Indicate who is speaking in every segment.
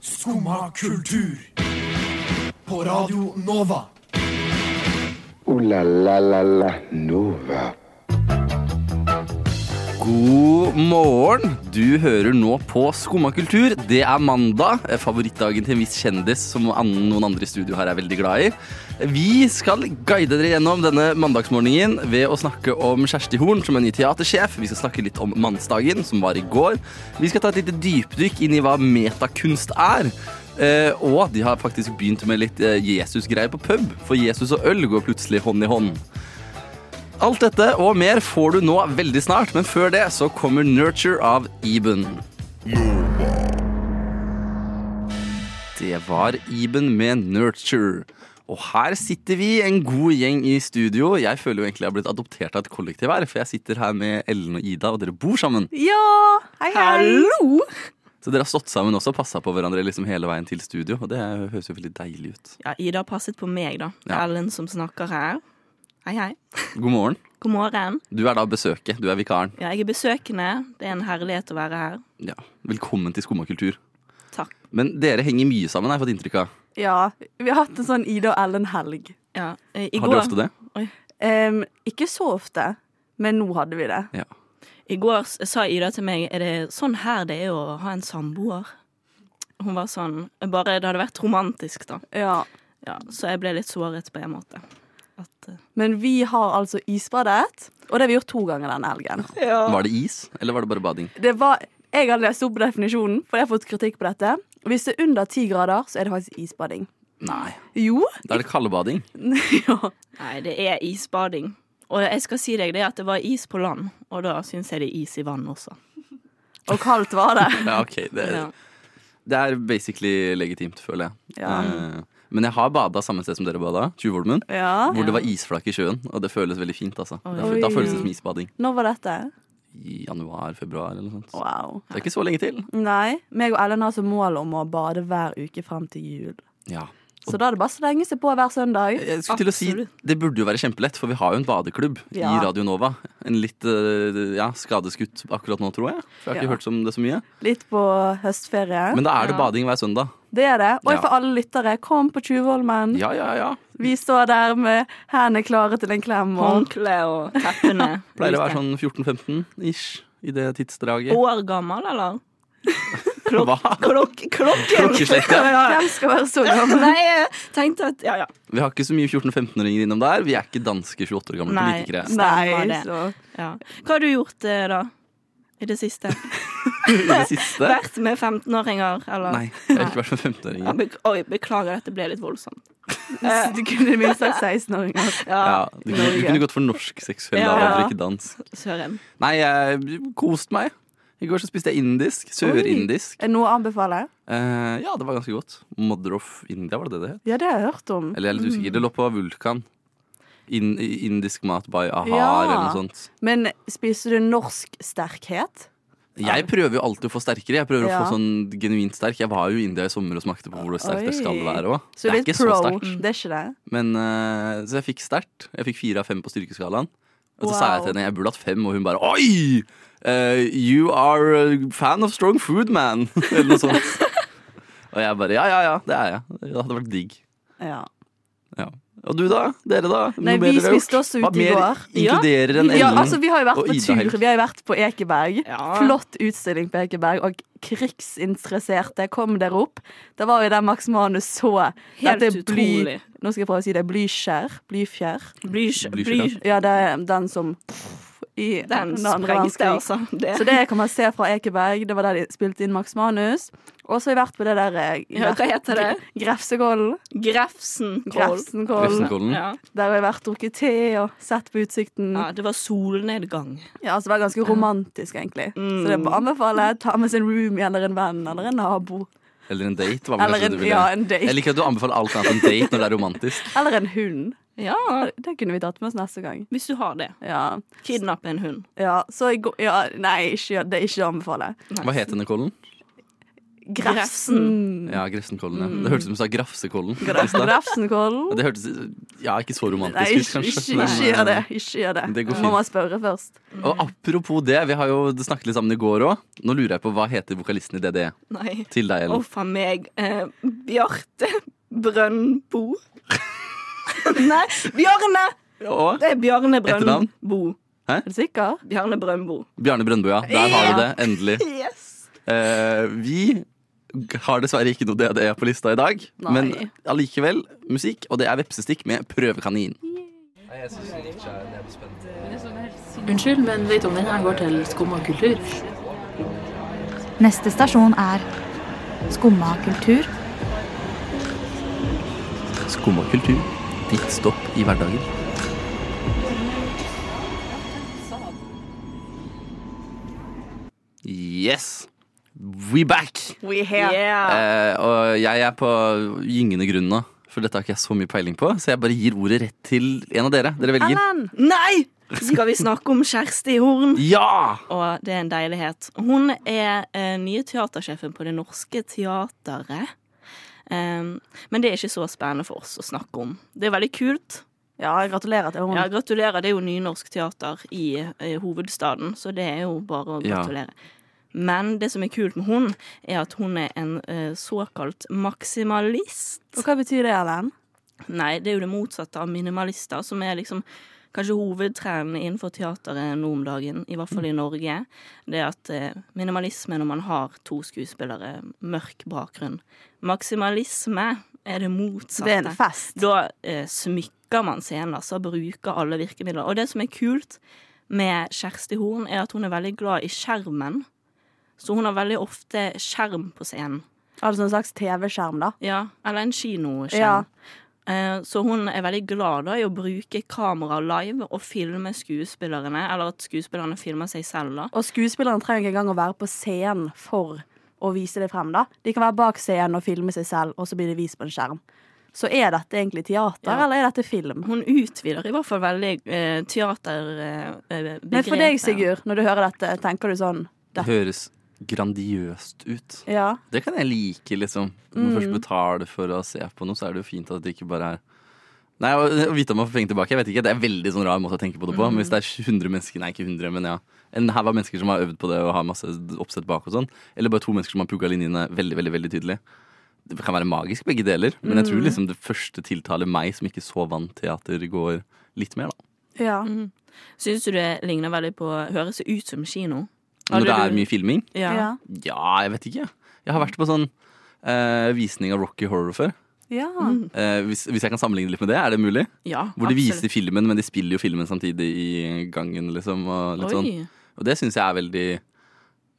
Speaker 1: Skumma kultur. På Radio Nova.
Speaker 2: Ooh la la la la Nova.
Speaker 3: God morgen. Du hører nå på Skumma kultur. Det er mandag. Eh, Favorittdagen til en viss kjendis som an- noen andre i studio her er veldig glad i. Vi skal guide dere gjennom denne mandagsmorgenen ved å snakke om Kjersti Horn, som er ny teatersjef. Vi skal snakke litt om mannsdagen, som var i går. Vi skal ta et lite dypdykk inn i hva metakunst er. Eh, og de har faktisk begynt med litt eh, Jesus-greier på pub, for Jesus og øl går plutselig hånd i hånd. Alt dette og mer får du nå veldig snart, men før det så kommer Nurture av Eben. Det var Eben med Nurture. Og her sitter vi, en god gjeng i studio. Jeg føler jo egentlig jeg har blitt adoptert av et kollektiv her, for jeg sitter her med Ellen og Ida, og dere bor sammen.
Speaker 4: Ja! Hei, hei! Hallo!
Speaker 3: Så dere har stått sammen også og passa på hverandre liksom hele veien til studio, og det høres jo veldig deilig ut.
Speaker 4: Ja, Ida har passet på meg, da. Det er
Speaker 3: Ja.
Speaker 4: Ellen som snakker her. Hei, hei.
Speaker 3: God morgen.
Speaker 4: God morgen.
Speaker 3: Du er da besøket, du er vikaren.
Speaker 4: Ja, jeg er besøkende. Det er en herlighet å være her.
Speaker 3: Ja. Velkommen til Skumma kultur.
Speaker 4: Takk.
Speaker 3: Men dere henger mye sammen, har jeg fått inntrykk av.
Speaker 5: Ja, vi har hatt en sånn Ida og Ellen-helg.
Speaker 4: Ja, eh, i
Speaker 3: Har
Speaker 4: går,
Speaker 3: dere ofte det?
Speaker 5: Em, ikke så ofte, men nå hadde vi det.
Speaker 3: Ja.
Speaker 4: I går s- sa Ida til meg Er det sånn her det er å ha en samboer? Hun var sånn Bare det hadde vært romantisk, da.
Speaker 5: Ja.
Speaker 4: Ja, så jeg ble litt såret på en måte. At, eh,
Speaker 5: Men vi har altså isbadet, og det har vi gjort to ganger denne helgen.
Speaker 3: Var det is, eller var det bare bading?
Speaker 5: Det var, jeg har lest opp definisjonen, for jeg har fått kritikk på dette. Hvis det er under ti grader, så er det faktisk isbading.
Speaker 3: Nei.
Speaker 5: Jo.
Speaker 3: Da er det kaldbading.
Speaker 5: ja.
Speaker 4: nei, det er isbading. Og jeg skal si deg det at det var is på land, og da syns jeg det er is i vann også.
Speaker 5: Og kaldt var det.
Speaker 3: Ja, ok. Det,
Speaker 4: Ja.
Speaker 3: det er basically legitimt, føler jeg.
Speaker 5: Ja.
Speaker 3: Eh, Men jeg har bada samme sted som dere bada, Tjuvholmen.
Speaker 5: Ja.
Speaker 3: Hvor det var isflak i sjøen, og det føles veldig fint. altså Da
Speaker 5: Oi.
Speaker 3: fø- Da føles det som isbading.
Speaker 5: Når var dette?
Speaker 3: I januar-februar eller noe sånt.
Speaker 5: Wow.
Speaker 3: Det er ikke så lenge til.
Speaker 5: Nei. meg og Ellen har som mål om å bade hver uke frem til jul.
Speaker 3: Ja.
Speaker 5: Så da er det bare å slenge seg på hver søndag.
Speaker 3: Jeg skulle til å si,
Speaker 4: Absolutt.
Speaker 3: Det burde jo være kjempelett, for vi har jo en badeklubb i
Speaker 5: Ja.
Speaker 3: Radio Nova. En litt eh, ja, skadeskutt akkurat nå, tror jeg. For jeg har ikke
Speaker 5: Ja.
Speaker 3: hørt om det så mye.
Speaker 5: Litt på høstferie.
Speaker 3: Men da er det
Speaker 4: Ja.
Speaker 3: bading hver søndag.
Speaker 5: Det er det. Og
Speaker 3: Ja.
Speaker 5: for alle lyttere, kom på Tjuvholmen.
Speaker 3: Ja, ja, ja.
Speaker 5: Vi står der med hendene klare til en klem. Og
Speaker 4: Håndkle og teppene.
Speaker 3: Pleier å være
Speaker 4: Like.
Speaker 3: sånn 14-15 ish i det tidsdraget.
Speaker 4: År gammel, eller?
Speaker 3: Hva?
Speaker 4: Klok klokken!
Speaker 3: Klokkeslett, ja.
Speaker 5: hvem skal være så gammel?
Speaker 4: Nei, jeg tenkte at Ja, ja.
Speaker 3: Vi har ikke så mye 14-15-åringer innom der. Vi er ikke danske 28 år gamle
Speaker 4: Nei.
Speaker 3: politikere.
Speaker 4: Stemmer
Speaker 5: Nei,
Speaker 4: det.
Speaker 5: så
Speaker 4: ja. Hva har du gjort, eh, da? I det siste?
Speaker 3: I det siste.
Speaker 4: Vært med 15-åringer, eller?
Speaker 3: Nei, jeg har
Speaker 4: Nei.
Speaker 3: ikke vært med
Speaker 4: Ja,
Speaker 3: 15-åringer.
Speaker 4: bek- Oi, beklager, dette ble litt voldsomt.
Speaker 5: Du kunne minst sagt 16-åringer.
Speaker 3: Ja, du, kunne, du
Speaker 5: Norge.
Speaker 3: kunne gått for norsk seksuell
Speaker 4: Ja.
Speaker 3: lavalder, ikke dans.
Speaker 4: Søren.
Speaker 3: Nei, jeg koste meg. I går så spiste jeg indisk. Sørindisk.
Speaker 5: Er det noe å anbefale?
Speaker 3: Eh, ja, det var ganske godt. Mother of India, var det det det het?
Speaker 5: Ja, det har jeg hørt om.
Speaker 3: Eller jeg er litt usikker. Det lå på Vulkan. In, indisk mat by Ahar
Speaker 5: Ja.
Speaker 3: eller noe sånt.
Speaker 5: Men spiser du norsk sterkhet?
Speaker 3: Jeg prøver jo alltid å få sterkere. Jeg prøver
Speaker 5: Ja.
Speaker 3: å få sånn genuint sterk. Jeg var jo i India i sommer og smakte på hvor sterkt det skal
Speaker 5: Oi.
Speaker 3: være òg. Det
Speaker 5: Så du
Speaker 3: er
Speaker 5: litt
Speaker 3: ikke så
Speaker 5: pro.
Speaker 3: sterkt.
Speaker 5: Det er ikke det?
Speaker 3: Men, eh, så jeg fikk sterkt. Jeg fikk fire av fem på styrkeskalaen. Og så
Speaker 5: Wow.
Speaker 3: sa jeg til henne jeg burde hatt fem, og hun bare Oi! eh, you are a fan of strong food, man! Eller noe sånt. og jeg bare ja, ja, ja, det er jeg. Det hadde vært digg.
Speaker 5: Ja.
Speaker 3: Ja. Og du, da? Dere, da? Noe
Speaker 5: Nei,
Speaker 3: mer
Speaker 5: vi
Speaker 3: dere har gjort?
Speaker 5: spiste også
Speaker 3: Hva
Speaker 5: ute i
Speaker 3: mer
Speaker 5: går.
Speaker 3: Inkluderer enn
Speaker 5: Ja,
Speaker 3: Ellen
Speaker 5: altså Vi har jo vært
Speaker 3: og
Speaker 5: på
Speaker 3: Ida Helg.
Speaker 5: tur. Vi har jo vært på Ekeberg.
Speaker 4: Ja.
Speaker 5: Flott utstilling på Ekeberg. Og krigsinteresserte, kom dere opp. Det var jo der Max Manus så
Speaker 4: Helt
Speaker 5: dette
Speaker 4: utrolig.
Speaker 5: Nå skal jeg prøve å si det. Blyskjær. Blyfjær.
Speaker 4: Blyskjær.
Speaker 3: Blyskjær,
Speaker 4: Bly,
Speaker 5: Ja, det er den som i
Speaker 4: den
Speaker 5: den andre
Speaker 4: sprengte,
Speaker 5: verdenskrig.
Speaker 4: altså. Det.
Speaker 5: Så det kan man se fra Ekeberg. Det var der de spilte inn Max Manus. Og så har jeg vært på det der eh,
Speaker 4: Ja, hva heter det?
Speaker 5: Gre- Grefsekollen.
Speaker 4: Grefsen. Kål.
Speaker 5: Grefsenkollen.
Speaker 3: Grefsenkollen.
Speaker 4: Ja.
Speaker 5: Der har jeg vært og drukket te og sett på utsikten.
Speaker 4: ja, det var solnedgang.
Speaker 5: Ja, altså Det var ganske romantisk, egentlig.
Speaker 4: Mm.
Speaker 5: Så det er bare å anbefale ta med sin roomie eller en venn eller en nabo.
Speaker 3: Eller en date. Hva var
Speaker 5: Eller
Speaker 3: det
Speaker 5: en,
Speaker 3: du ville?
Speaker 5: ja, en
Speaker 3: Jeg
Speaker 5: date.
Speaker 3: liker at du anbefaler alt annet enn date når det er romantisk.
Speaker 5: Eller en hund.
Speaker 4: Ja,
Speaker 5: Det kunne vi tatt med oss neste gang.
Speaker 4: hvis du har det.
Speaker 5: Ja,
Speaker 4: Kidnappe en hund.
Speaker 5: ja så jeg går ja, Nei, ikke, gjør- det er ikke å anbefale.
Speaker 3: Hva het henne, Colin?
Speaker 5: Grefsen.
Speaker 3: Ja, Grefsenkollen.
Speaker 5: Mm.
Speaker 3: Ja. Det hørtes ut som du sa Grafsekollen. i stad.
Speaker 5: Grefsenkollen.
Speaker 3: Det hørtes ja, ikke så
Speaker 5: Nei,
Speaker 3: romantisk ut,
Speaker 5: ikke,
Speaker 3: kanskje.
Speaker 5: ikke,
Speaker 3: men-
Speaker 5: ikke gjør det. Ikke gjør det.
Speaker 3: Det går
Speaker 5: Må
Speaker 3: fint.
Speaker 5: man spørre først.
Speaker 3: Og apropos det, vi har jo snakket litt sammen i går òg. Nå lurer jeg på hva heter vokalisten i DDE?
Speaker 4: Nei.
Speaker 3: Til deg, Ellen.
Speaker 4: Å, faen meg. Eh, Bjarte Brøndbo. Nei, Bjarne!
Speaker 3: Og
Speaker 4: Det er Bjarne
Speaker 3: Etternavn?
Speaker 4: Brøndbo.
Speaker 5: Er du sikker?
Speaker 4: Bjarne Brøndbo.
Speaker 3: Bjarne Brøndbo, ja. Der har vi det, endelig.
Speaker 4: Yes.
Speaker 3: Eh, vi har dessverre ikke noe DDE på lista i dag,
Speaker 5: Nei.
Speaker 3: men allikevel musikk, og det er vepsestikk med prøvekanin.
Speaker 6: Unnskyld, men vet du om den her går til skum og kultur?
Speaker 7: Neste stasjon er Skumma kultur.
Speaker 3: Skum og kultur. Ditt stopp i hverdagen. Yes! We back!
Speaker 5: We
Speaker 4: Yeah.
Speaker 3: Eh, og jeg er på gyngende grunn nå, for dette har ikke jeg så mye peiling på. Så jeg bare gir ordet rett til en av dere. Dere velger.
Speaker 5: Ellen!
Speaker 4: Nei! Skal vi snakke om Kjersti Horn?
Speaker 3: Ja!
Speaker 4: Og det er en deilighet. Hun er eh, nye teatersjefen på Det Norske Teatret. Em, men det er ikke så spennende for oss å snakke om. Det er veldig kult.
Speaker 5: Ja, gratulerer til
Speaker 4: Ja,
Speaker 5: henne.
Speaker 4: gratulerer. Det er jo nynorsk teater i, eh, hovedstaden, så det er jo bare å
Speaker 3: Ja.
Speaker 4: gratulere. Men det som er kult med hun, er at hun er en eh, såkalt maksimalist.
Speaker 5: Og hva betyr det, Ellen?
Speaker 4: Nei, det er jo det motsatte av minimalister, som er liksom kanskje hovedtrenden innenfor teateret nå om dagen, i hvert
Speaker 5: Mm.
Speaker 4: fall i Norge. Det er at eh, minimalisme er når man har to skuespillere, mørk bakgrunn. Maksimalisme er det motsatte.
Speaker 5: Det er en fest.
Speaker 4: Da eh, smykker man scener, så bruker alle virkemidler. Og det som er kult med Kjersti Horn, er at hun er veldig glad i skjermen. Så hun har veldig ofte skjerm på scenen.
Speaker 5: Altså en slags TV-skjerm, da.
Speaker 4: Ja, eller en
Speaker 5: Ja.
Speaker 4: kinoskjerm. Eh, Så hun er veldig glad da, i å bruke kamera live og filme skuespillerne, eller at skuespillerne filmer seg selv. da.
Speaker 5: Og skuespilleren trenger ikke engang å være på scenen for å vise det frem. da De kan være bak scenen og filme seg selv, og så blir det vist på en skjerm. Så er dette egentlig teater,
Speaker 4: Ja.
Speaker 5: eller er dette film?
Speaker 4: Hun utvider i hvert fall veldig eh, teaterbegrepet. Eh,
Speaker 5: Men for deg,
Speaker 4: begrepet.
Speaker 5: Sigurd, når du hører dette, tenker du sånn
Speaker 3: Det høres grandiøst ut.
Speaker 5: Ja.
Speaker 3: Det kan jeg like, liksom. Når man først betaler for å se på noe, så er det jo fint at det ikke bare er Nei, å å vite om man får penger tilbake, jeg vet ikke. Det er veldig sånn rar måte å tenke på det på. Men hvis det er 100 mennesker, nei, ikke 100, men ja. En haug av mennesker som har øvd på det og har masse oppsett bak og sånn. Eller bare to mennesker som har pugga linjene veldig, veldig veldig tydelig. Det kan være magisk, begge deler. Men jeg tror liksom det første tiltaler meg, som ikke så vant teater, går litt mer, da.
Speaker 5: ja.
Speaker 4: Mm, Syns du det ligner veldig på Høres det ut som kino? Hadde
Speaker 3: Når det
Speaker 4: du-
Speaker 3: er mye filming.
Speaker 4: Ja.
Speaker 5: Ja.
Speaker 3: Ja, jeg vet ikke. Jeg har vært på sånn eh, visning av Rocky Horror før.
Speaker 5: ja.
Speaker 4: Mm.
Speaker 3: Eh, hvis, hvis jeg kan sammenligne litt med det, er det mulig?
Speaker 4: Ja,
Speaker 3: Hvor de
Speaker 4: absolutt.
Speaker 3: viser filmen, men de spiller jo filmen samtidig i gangen, liksom. Og, litt sånn.
Speaker 4: Oi.
Speaker 3: og det syns jeg er veldig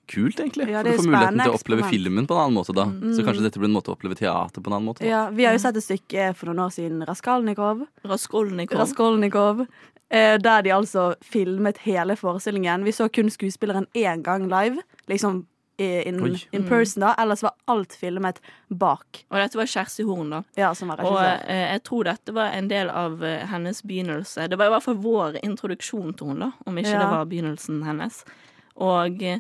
Speaker 3: kult, egentlig.
Speaker 5: Ja,
Speaker 3: For
Speaker 5: det
Speaker 3: du
Speaker 5: er
Speaker 3: får muligheten
Speaker 5: spennende
Speaker 3: til å oppleve
Speaker 5: eksperiment. Mm.
Speaker 3: filmen på en annen måte da. Så kanskje dette blir en måte å oppleve teater på en annen måte. da.
Speaker 5: ja. Vi
Speaker 4: Mm.
Speaker 5: har jo sett et stykke for noen år siden, Raskalnikov.
Speaker 4: Raskolnikov.
Speaker 5: Raskolnikov. eh, Der de altså filmet hele forestillingen. Vi så kun skuespilleren én gang live. Liksom i- in,
Speaker 3: Oi.
Speaker 5: in person, da. Ellers var alt filmet bak.
Speaker 4: og dette var Kjersti Horn, da.
Speaker 5: Ja, som var
Speaker 4: Og
Speaker 5: regissør.
Speaker 4: eh, jeg tror dette var en del av eh, hennes begynnelse. Det var i hvert fall vår introduksjon til henne, da, om ikke
Speaker 5: Ja.
Speaker 4: det var begynnelsen hennes. Og eh,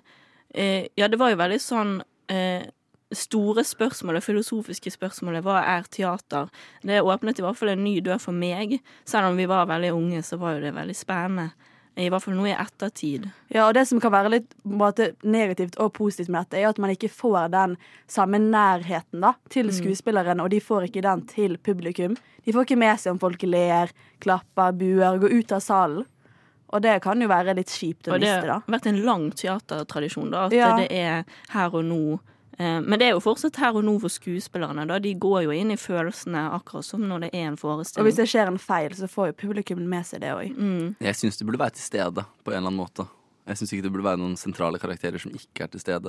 Speaker 4: eh, ja, det var jo veldig sånn eh, Store spørsmål, det filosofiske spørsmålet hva er teater? Det åpnet i hvert fall en ny dør for meg. Selv om vi var veldig unge, så var jo det veldig spennende. I hvert fall nå i ettertid.
Speaker 5: Ja, og det som kan være litt på en måte, negativt og positivt med dette, er jo at man ikke får den samme nærheten da, til skuespilleren, og de får ikke den til publikum. De får ikke med seg om folk ler, klapper, buer, går ut av salen. Og det kan jo være litt kjipt å
Speaker 4: Og det
Speaker 5: miste, da.
Speaker 4: har vært en lang teatertradisjon, da. At
Speaker 5: Ja.
Speaker 4: det er her og nå. Eh, Men det er jo fortsatt her og nå for skuespillerne. da. De går jo inn i følelsene akkurat som når det er en
Speaker 5: Og hvis
Speaker 4: forestilling.
Speaker 5: det skjer en feil, så får jo publikum med seg det òg.
Speaker 3: Jeg syns de burde være til stede på en eller annen måte. Jeg syns ikke det burde være noen sentrale karakterer som ikke er til stede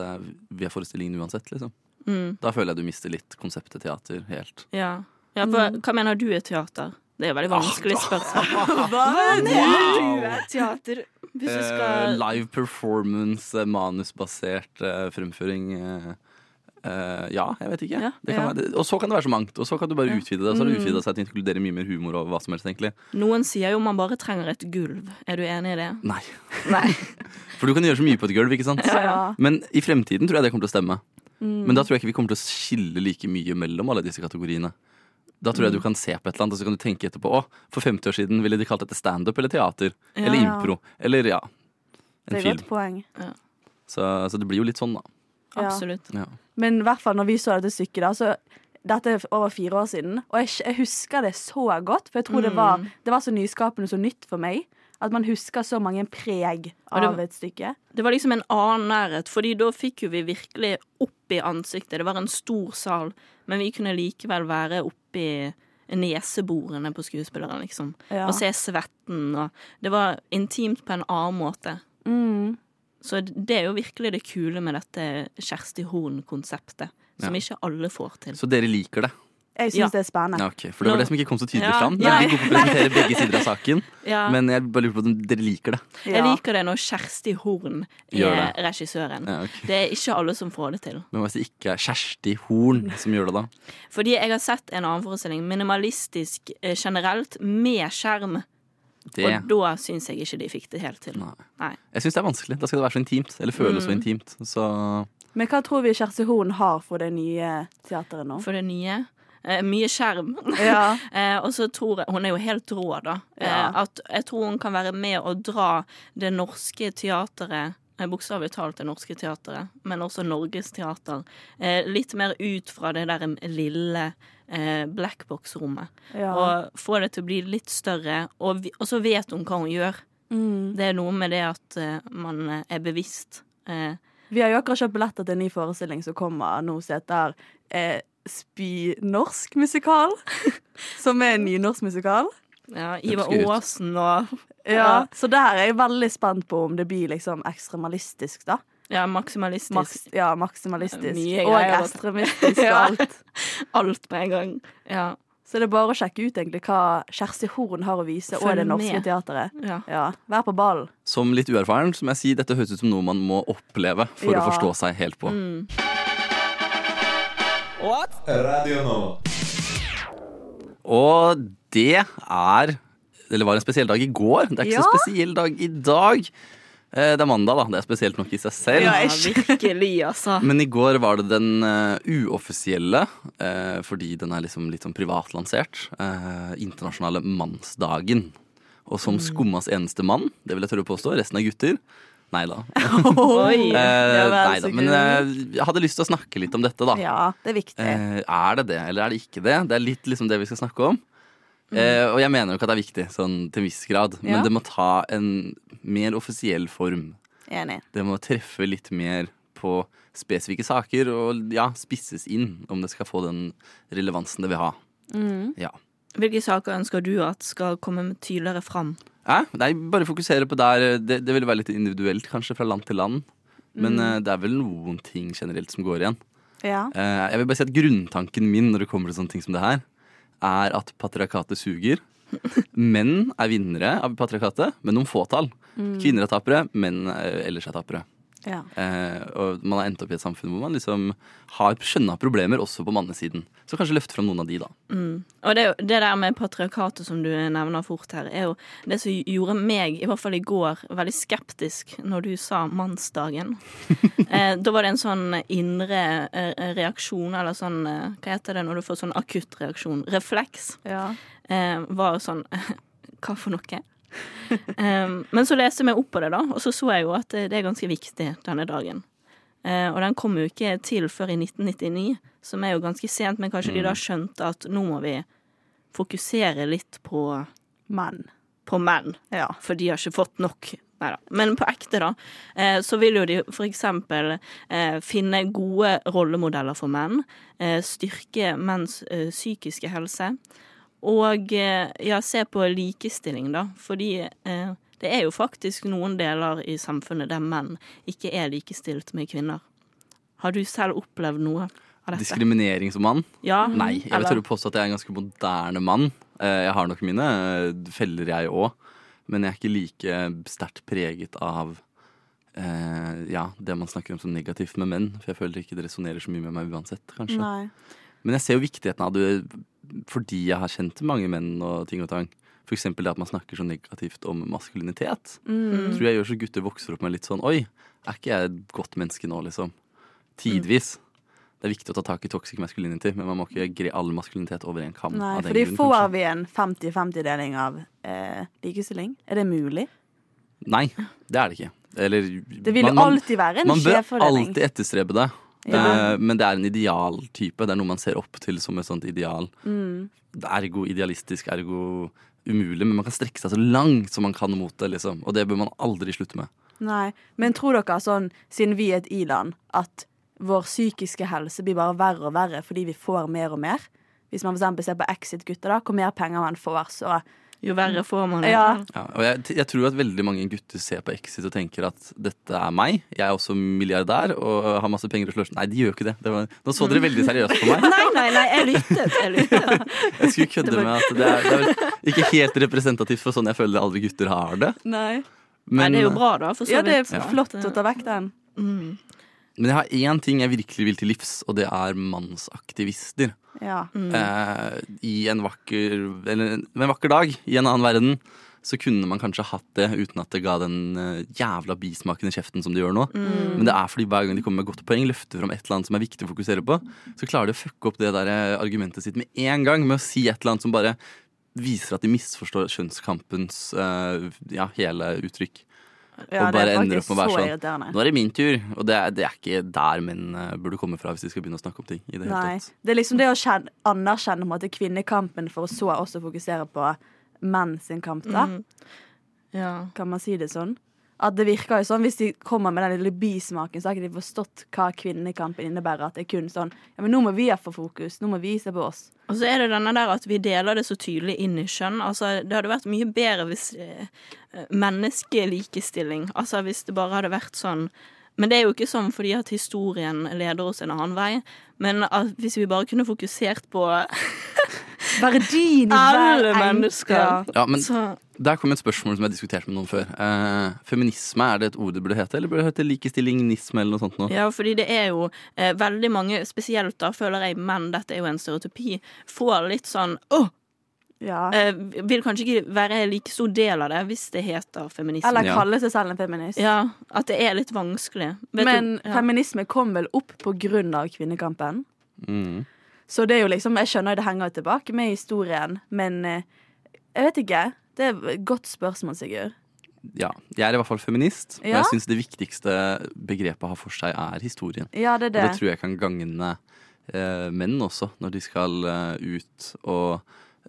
Speaker 3: ved forestillingen uansett, liksom.
Speaker 5: Mm.
Speaker 3: Da føler jeg du mister litt konseptet teater helt.
Speaker 4: Ja. ja,
Speaker 5: Mm.
Speaker 4: for hva mener du er teater? Det er jo veldig vanskelig spørsmål.
Speaker 5: Ah, Hva
Speaker 4: Mener du er teater? Hvis du
Speaker 3: Eh,
Speaker 4: skal
Speaker 3: live performance, eh, manusbasert eh, fremføring. eh, eh, ja, jeg vet ikke.
Speaker 4: Ja,
Speaker 3: det kan
Speaker 4: ja. Mm.
Speaker 3: Være, og så kan det være så mangt. Og så kan du bare utvide det. Og så har du utvidet seg til å inkludere mye mer humor og hva som helst, egentlig.
Speaker 4: Noen sier jo man bare trenger et gulv. Er du enig i det?
Speaker 3: Nei.
Speaker 4: Nei.
Speaker 3: For du kan gjøre så mye på et gulv, ikke sant?
Speaker 5: Ja.
Speaker 3: Men i fremtiden tror jeg det kommer til å stemme.
Speaker 4: Mm.
Speaker 3: Men da tror jeg ikke vi kommer til å skille like mye mellom alle disse kategoriene. Da
Speaker 4: Mm.
Speaker 3: tror jeg du kan se på et eller annet, og så kan du tenke etterpå Å, for 50 år siden ville de kalt dette standup eller teater.
Speaker 4: Ja,
Speaker 3: eller
Speaker 5: ja.
Speaker 3: impro. Eller ja, en
Speaker 5: Det er et
Speaker 3: film.
Speaker 5: godt poeng.
Speaker 3: Så, så det blir jo litt sånn, da.
Speaker 5: Ja.
Speaker 4: Absolutt.
Speaker 3: Ja.
Speaker 5: Men i hvert fall når vi så dette stykket, da, så dette er over fire år siden. Og jeg, jeg husker det så godt, for jeg tror det, var, det var så nyskapende og så nytt for meg. At man husker så mange preg
Speaker 4: Og det-
Speaker 5: av et stykke.
Speaker 4: Det var liksom en annen nærhet, fordi da fikk jo vi virkelig opp i ansiktet. Det var en stor sal, men vi kunne likevel være oppi neseborene på skuespilleren, liksom.
Speaker 5: Ja.
Speaker 4: Og se svetten og Det var intimt på en annen måte.
Speaker 5: Mm.
Speaker 4: Så det er jo virkelig det kule med dette Kjersti Horn-konseptet, som
Speaker 3: Ja.
Speaker 4: ikke alle får til.
Speaker 3: Så dere liker det?
Speaker 5: Jeg syns
Speaker 4: Ja.
Speaker 5: det er spennende.
Speaker 3: Ja, ok. For det
Speaker 4: Nå-
Speaker 3: var det som ikke kom så tydelig
Speaker 4: Ja,
Speaker 3: fram. Dere
Speaker 4: nei.
Speaker 3: er gode på å presentere begge sider av saken,
Speaker 4: Ja.
Speaker 3: men jeg bare lurer på om dere liker det.
Speaker 4: Jeg liker det når Kjersti Horn
Speaker 3: Gjør
Speaker 4: er regissøren.
Speaker 3: Ja, ok.
Speaker 4: Det er ikke alle som får det til.
Speaker 3: Men hvis det ikke er Kjersti Horn som gjør det, da?
Speaker 4: Fordi jeg har sett en annen forestilling, minimalistisk eh, generelt, med skjerm.
Speaker 3: Det
Speaker 4: Og da syns jeg ikke de fikk det helt til.
Speaker 3: Nei.
Speaker 4: Nei.
Speaker 3: Jeg syns det er vanskelig. Da skal det være så intimt. Eller føles
Speaker 4: Mm.
Speaker 3: så intimt. Så
Speaker 5: Men hva tror vi Kjersti Horn har for det nye teateret nå?
Speaker 4: For det nye eh, Mye skjerm.
Speaker 5: Ja.
Speaker 4: Eh, og så tror jeg Hun er jo helt rå, da. Eh,
Speaker 5: Ja.
Speaker 4: At jeg tror hun kan være med å dra det norske teateret eh, Bokstavelig talt det norske teatret, men også Norges teater. Eh, litt mer ut fra det der lille eh, blackbox-rommet.
Speaker 5: Ja.
Speaker 4: Og få det til å bli litt større. Og, vi, og så vet hun hva hun gjør.
Speaker 5: Mm.
Speaker 4: Det er noe med det at eh, man eh, er bevisst. Eh,
Speaker 5: Vi har jo akkurat kjøpt billetter til en ny forestilling som kommer nå, som heter eh, Spynorsk musikal. som er en nynorsk musikal.
Speaker 4: ja,
Speaker 3: Det
Speaker 4: Ivar
Speaker 3: husker jeg ut.
Speaker 4: Aasen og
Speaker 5: Ja, så der er jeg veldig spent på om det blir liksom ekstremalistisk, da.
Speaker 4: ja, maksimalistisk.
Speaker 5: Max, ja, maksimalistisk.
Speaker 4: Mye
Speaker 5: og
Speaker 4: greier, da.
Speaker 5: ekstremistisk og
Speaker 4: Ja.
Speaker 5: alt.
Speaker 4: Alt på en gang. Ja.
Speaker 5: Så det er bare å sjekke ut egentlig hva Kjersti Horn har å vise,
Speaker 4: Følg
Speaker 5: og det norske
Speaker 4: med.
Speaker 5: teateret.
Speaker 4: ja.
Speaker 5: Ja, Vær på ballen.
Speaker 3: som litt uerfaren så må jeg si dette høres ut som noe man må oppleve for å
Speaker 5: Ja.
Speaker 3: forstå seg helt på.
Speaker 4: Mm.
Speaker 1: Radio Nova.
Speaker 3: Og det er Eller var en spesiell dag i går. Det er ikke
Speaker 5: Ja.
Speaker 3: så spesiell dag i dag. Eh, Det er mandag, da. Det er spesielt nok i seg selv.
Speaker 4: Ja, virkelig, altså.
Speaker 3: Men i går var det den eh, uoffisielle, eh, fordi den er liksom litt sånn privatlansert, eh, internasjonale mannsdagen. Og
Speaker 5: Mm.
Speaker 3: som skummas eneste mann, det vil jeg tørre å påstå, resten er gutter. Nei da.
Speaker 4: Oi.
Speaker 5: Ja, vel, så
Speaker 3: Men eh, jeg hadde lyst til å snakke litt om dette, da.
Speaker 5: Ja, det er viktig.
Speaker 3: Eh, er det det, eller er det ikke det? Det er litt liksom det vi skal snakke om. Eh, og jeg mener jo ikke at det er viktig, sånn til en viss grad,
Speaker 5: Mm. Ja.
Speaker 3: men det må ta en mer offisiell form.
Speaker 5: Enig.
Speaker 3: Det må treffe litt mer på spesifikke saker og ja, spisses inn om det skal få den relevansen det vil ha. Ja.
Speaker 4: Hvilke saker ønsker du at skal komme tydeligere fram?
Speaker 3: Eh, nei, bare fokusere på der. eh, Det, det vil være litt individuelt, kanskje, fra land til land. Men eh, det er vel noen ting generelt som går igjen.
Speaker 5: Ja.
Speaker 3: Eh, jeg vil bare si at grunntanken min når det kommer til sånne ting som det her, er at patriarkatet suger. Menn er vinnere av patriarkatet, med noen fåtall. Kvinner er tapere, menn eh, ellers er tapere.
Speaker 5: ja.
Speaker 3: Eh, og man har endt opp i et samfunn hvor man liksom har skjønna problemer også på mannesiden. Så kanskje løfte fram noen av de, da.
Speaker 4: Og det, er jo- det der med patriarkatet som du nevner fort her, er jo det som gjorde meg, i hvert fall i går, veldig skeptisk når du sa mannsdagen. eh, da var det en sånn indre eh, reaksjon, eller sånn eh, Hva heter det når du får sånn akutt reaksjon? Refleks.
Speaker 5: Ja.
Speaker 4: eh, var sånn Hva for noe? Em, men så leste jeg meg opp på det, da, og så så jeg jo at eh, det er ganske viktig denne dagen. Eh, og den kom jo ikke til før i 1999, som er jo ganske sent, men kanskje de da skjønte at nå må vi fokusere litt på,
Speaker 5: Men.
Speaker 4: på menn,
Speaker 5: Ja.
Speaker 4: for de har ikke fått nok. Neida. Men på ekte, da, eh, så vil jo de for eksempel eh, finne gode rollemodeller for menn, eh, styrke menns eh, psykiske helse, og eh, ja, se på likestilling, da. Fordi eh, det er jo faktisk noen deler i samfunnet der menn ikke er likestilt med kvinner. Har du selv opplevd noe av dette?
Speaker 3: Diskriminering som mann?
Speaker 4: ja?
Speaker 3: Nei. Jeg vil
Speaker 4: Eller-
Speaker 3: tørre å påstå at jeg er en ganske moderne mann. Eh, jeg har nok mine eh, feller, jeg òg. Men jeg er ikke like sterkt preget av eh, ja, det man snakker om som negativt med menn. For jeg føler ikke det resonnerer så mye med meg uansett, kanskje.
Speaker 5: Nei.
Speaker 3: Men jeg ser jo viktigheten av det fordi jeg har kjent mange menn og ting og tang. For eksempel det at man snakker så negativt om maskulinitet.
Speaker 5: Mm.
Speaker 3: Tror jeg
Speaker 5: Mm.
Speaker 3: gjør så gutter vokser opp med litt sånn Oi, er ikke jeg et godt menneske nå, liksom? Tidvis. Det er viktig å ta tak i toxic masculinity, men man må ikke gre all maskulinitet over en kam.
Speaker 5: Nei,
Speaker 3: av den
Speaker 5: fordi
Speaker 3: grunn,
Speaker 5: får
Speaker 3: kanskje.
Speaker 5: vi en 50-50-deling av eh, likestilling? Er det mulig?
Speaker 3: Nei, det er det ikke. Eller
Speaker 5: Det vil
Speaker 3: man-
Speaker 5: jo
Speaker 3: man-
Speaker 5: alltid være en
Speaker 3: Man bør
Speaker 5: skjevfordeling.
Speaker 3: alltid etterstrebe det.
Speaker 5: Ja.
Speaker 3: Eh, Men det er en idealtype. Det er noe man ser opp til som et sånt ideal.
Speaker 5: Mm.
Speaker 3: Det er Ergo idealistisk, ergo umulig. Men man kan strekke seg så langt som man kan mot det. liksom Og det bør man aldri slutte med.
Speaker 5: Nei. Men tror dere, sånn, siden vi er et i-land, at vår psykiske helse blir bare verre og verre fordi vi får mer og mer? Hvis man for eksempel ser på Exit-gutter, da, hvor mer penger man får, så
Speaker 4: Jo verre får man det.
Speaker 5: Ja.
Speaker 3: Ja, og jeg, jeg tror at veldig mange gutter ser på Exit og tenker at dette er meg. Jeg er også milliardær og har masse penger å sløse. Nei, de gjør jo ikke det. det var, nå så dere veldig seriøst på meg.
Speaker 4: Nei, nei, nei, jeg lyttet. Jeg lyttet.
Speaker 3: Jeg skulle kødde med at det er, det er vel ikke helt representativt for sånn jeg føler alle gutter har det.
Speaker 5: Nei.
Speaker 4: Nei, det er jo bra, da. For så
Speaker 5: Ja, det
Speaker 4: vidt.
Speaker 5: er flott å ta vekk den.
Speaker 3: Men jeg har én ting jeg virkelig vil til livs, og det er mannsaktivister.
Speaker 5: Ja.
Speaker 3: Eh, I en vakker, eller, en vakker dag i en annen verden så kunne man kanskje hatt det uten at det ga den eh, jævla bismaken i kjeften som det gjør nå. Men det er fordi hver gang de kommer med godt poeng, løfter fram et eller annet som er viktig å fokusere på, så klarer de å fucke opp det der eh, argumentet sitt med en gang med å si et eller annet som bare viser at de misforstår kjønnskampens eh, ja, hele uttrykk.
Speaker 5: Ja,
Speaker 3: og
Speaker 5: det
Speaker 3: bare
Speaker 5: er
Speaker 3: ender opp med å
Speaker 5: faktisk så
Speaker 3: være sånn
Speaker 5: irriterende.
Speaker 3: Nå er det min tur. Og det er, det er ikke der menn eh, burde komme fra hvis de skal begynne å snakke om ting. i det hele
Speaker 5: Nei.
Speaker 3: tatt.
Speaker 5: Det er liksom det å kjen- anerkjenne på en måte, kvinnekampen for å så også fokusere på menn sin kamp, da.
Speaker 4: Ja.
Speaker 5: Kan man si det sånn? At det virker jo sånn Hvis de kommer med den lille bismaken, så har ikke de forstått hva kvinnekampen innebærer. At det er kun sånn Ja, men nå må vi ha for fokus. Nå må vi se på oss.
Speaker 4: Og så er det denne der at vi deler det så tydelig inn i kjønn. Altså, det hadde vært mye bedre hvis eh, eh, menneskelikestilling Altså hvis det bare hadde vært sånn Men det er jo ikke sånn fordi at historien leder oss en annen vei. Men at hvis vi bare kunne fokusert på
Speaker 5: Verdien i hver
Speaker 4: alle
Speaker 5: en- Ja.
Speaker 4: mennesker
Speaker 3: Ja, men
Speaker 4: Så
Speaker 3: Der kom et spørsmål som jeg diskuterte med noen før. Eh, feminisme, er det et ord det burde hete? Eller burde det hete likestillingisme eller noe sånt? Nå?
Speaker 4: Ja, fordi det er jo eh, veldig mange, spesielt da føler jeg menn, dette er jo en stereotypi, får litt sånn åh!
Speaker 5: ja.
Speaker 4: Eh, vil kanskje ikke være en like stor del av det hvis det heter feminisme.
Speaker 5: Eller
Speaker 3: Ja.
Speaker 5: kalle seg selv en feminist.
Speaker 4: Ja, at det er litt vanskelig. Vet
Speaker 5: Men
Speaker 4: du, ja.
Speaker 5: feminisme kom vel opp på grunn av kvinnekampen.
Speaker 3: Mm.
Speaker 5: Så det er jo liksom Jeg skjønner jo det henger jo tilbake med historien, men eh, jeg vet ikke. Det er et godt spørsmål, Sigurd.
Speaker 3: Ja. Jeg er i hvert fall feminist, og
Speaker 5: Ja.
Speaker 3: jeg syns det viktigste begrepet har for seg, er historien.
Speaker 5: Ja, det er det.
Speaker 3: Og det tror jeg kan gagne eh, menn også, når de skal eh, ut og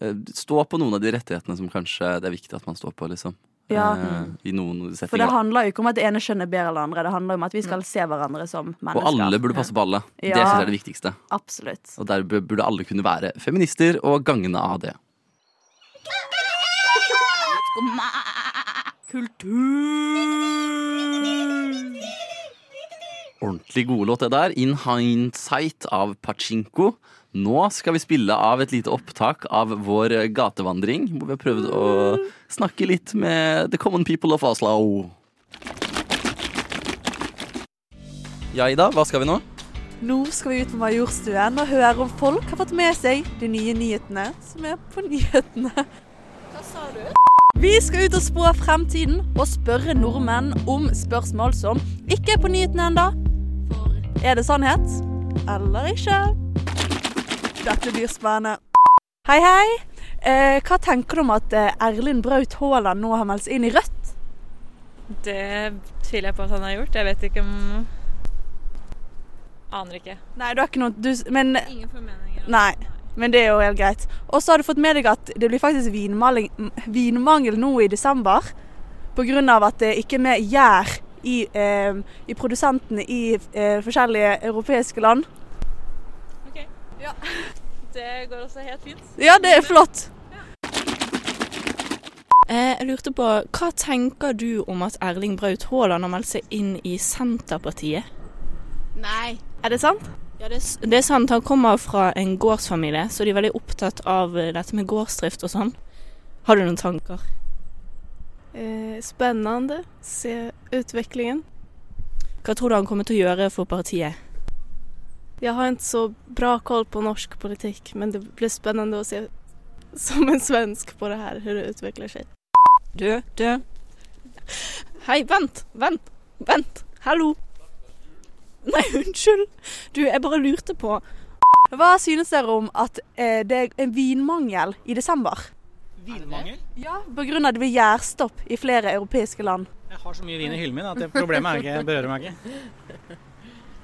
Speaker 3: eh, stå på noen av de rettighetene som kanskje det er viktig at man står på, liksom.
Speaker 5: Ja.
Speaker 3: Eh, I noen
Speaker 5: For det
Speaker 3: settinger.
Speaker 5: handler jo ikke om at det ene skjønner bedre enn det andre. Det handler om at vi skal se hverandre som mennesker.
Speaker 3: Og alle burde passe på alle. Det
Speaker 5: Ja.
Speaker 3: synes jeg er det viktigste.
Speaker 5: Absolutt.
Speaker 3: Og der bu- burde alle kunne være feminister og gagne av det.
Speaker 7: Skumma
Speaker 3: Ordentlig god låt det der. In hindsight av Pachinko. Nå skal vi spille av et lite opptak av vår eh, gatevandring, hvor vi har prøvd å snakke litt med the common people of Oslo. Ja, Ida, hva skal vi nå?
Speaker 8: Nå skal vi ut på Majorstuen og høre om folk har fått med seg de nye nyhetene som er på nyhetene. Hva sa du? Vi skal ut og spå fremtiden og spørre nordmenn om spørsmål som ikke er på nyhetene ennå. Er det sannhet eller ikke? Dette blir spennende. Hei, hei. Eh, hva tenker du om at eh, Erlind Braut Haaland nå har meldt seg inn i Rødt?
Speaker 9: Det tviler jeg på at han har gjort. Jeg vet ikke om Aner ikke.
Speaker 8: Nei, du har ikke noe du, Men
Speaker 9: Ingen formeninger. altså.
Speaker 8: Nei, men det er jo helt greit. Og så har du fått med deg at det blir faktisk vinmaling, m- vinmangel nå i desember. Pga. at det ikke er med gjær i, eh, i produsentene i eh, forskjellige europeiske land.
Speaker 9: Det går også helt fint.
Speaker 8: Ja, det er flott.
Speaker 4: Eh, Jeg lurte på, hva tenker du om at Erling Braut Haaland har meldt seg inn i Senterpartiet?
Speaker 8: Nei. Er det sant?
Speaker 4: Ja, det, det er sant, han kommer fra en gårdsfamilie, så de er veldig opptatt av eh, dette med gårdsdrift og sånn. Har du noen tanker?
Speaker 10: Spännande, Eh, se utvecklingen.
Speaker 4: Hva tror du han kommer til å gjøre for partiet?
Speaker 10: Jag har inte så bra koll på norsk politik men det blir spännande att se som en svensk på det här, hur det utvecklar sig.
Speaker 4: Du, du. Hei, vent, vent, vent. Hallo.
Speaker 10: Nei, unnskyld. Du, jeg bare lurte på
Speaker 8: Hva synes dere om at eh, det er en vinmangel i desember?
Speaker 11: Vinmangel?
Speaker 8: Ja, pga. at det blir gjærstopp i flere europeiske land.
Speaker 11: Jeg har så mye vin i hyllen min at det problemet er ikke, berører meg ikke.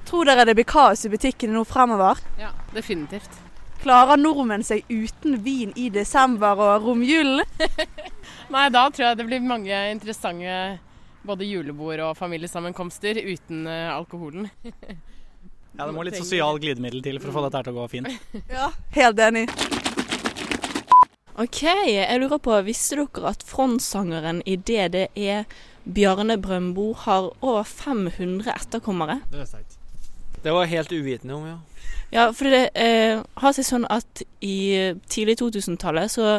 Speaker 8: Tror dere det blir kaos i butikkene nå fremover?
Speaker 12: Ja, definitivt.
Speaker 8: Klarer nordmenn seg uten vin i desember og romjulen?
Speaker 12: Nei, da tror jeg det blir mange interessante både julebord og familiesammenkomster uten eh, alkoholen.
Speaker 11: Ja, Det må litt sosial glidemiddel til for å få dette her til å gå fint.
Speaker 8: Ja, helt enig.
Speaker 4: OK, jeg lurer på, visste dere at Front-sangeren i DDE, Bjarne Brøndbo, har over 500 etterkommere?
Speaker 11: Det er sterkt. Det var helt uvitende om, ja.
Speaker 4: Ja, for det eh, har seg sånn at i tidlig 2000-tallet så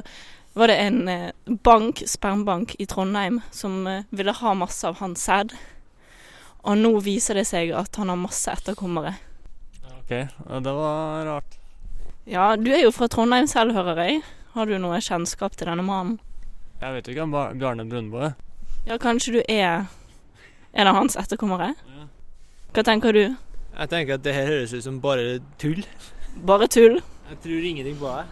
Speaker 4: var det en eh, bank, spermbank, i Trondheim som eh, ville ha masse av hans sæd. Og nå viser det seg at han har masse etterkommere.
Speaker 13: OK, det var rart.
Speaker 4: Ja, du er jo fra Trondheim selv, hører jeg. Har du noe kjennskap til denne mannen?
Speaker 13: Jeg vet ikke om Bar- Bjarne Brundbo er.
Speaker 4: Ja, kanskje du er en av hans etterkommere? Hva tenker du?
Speaker 14: Jeg tenker at det her høres ut som bare tull.
Speaker 4: Bare tull?
Speaker 14: Jeg tror ingenting på det.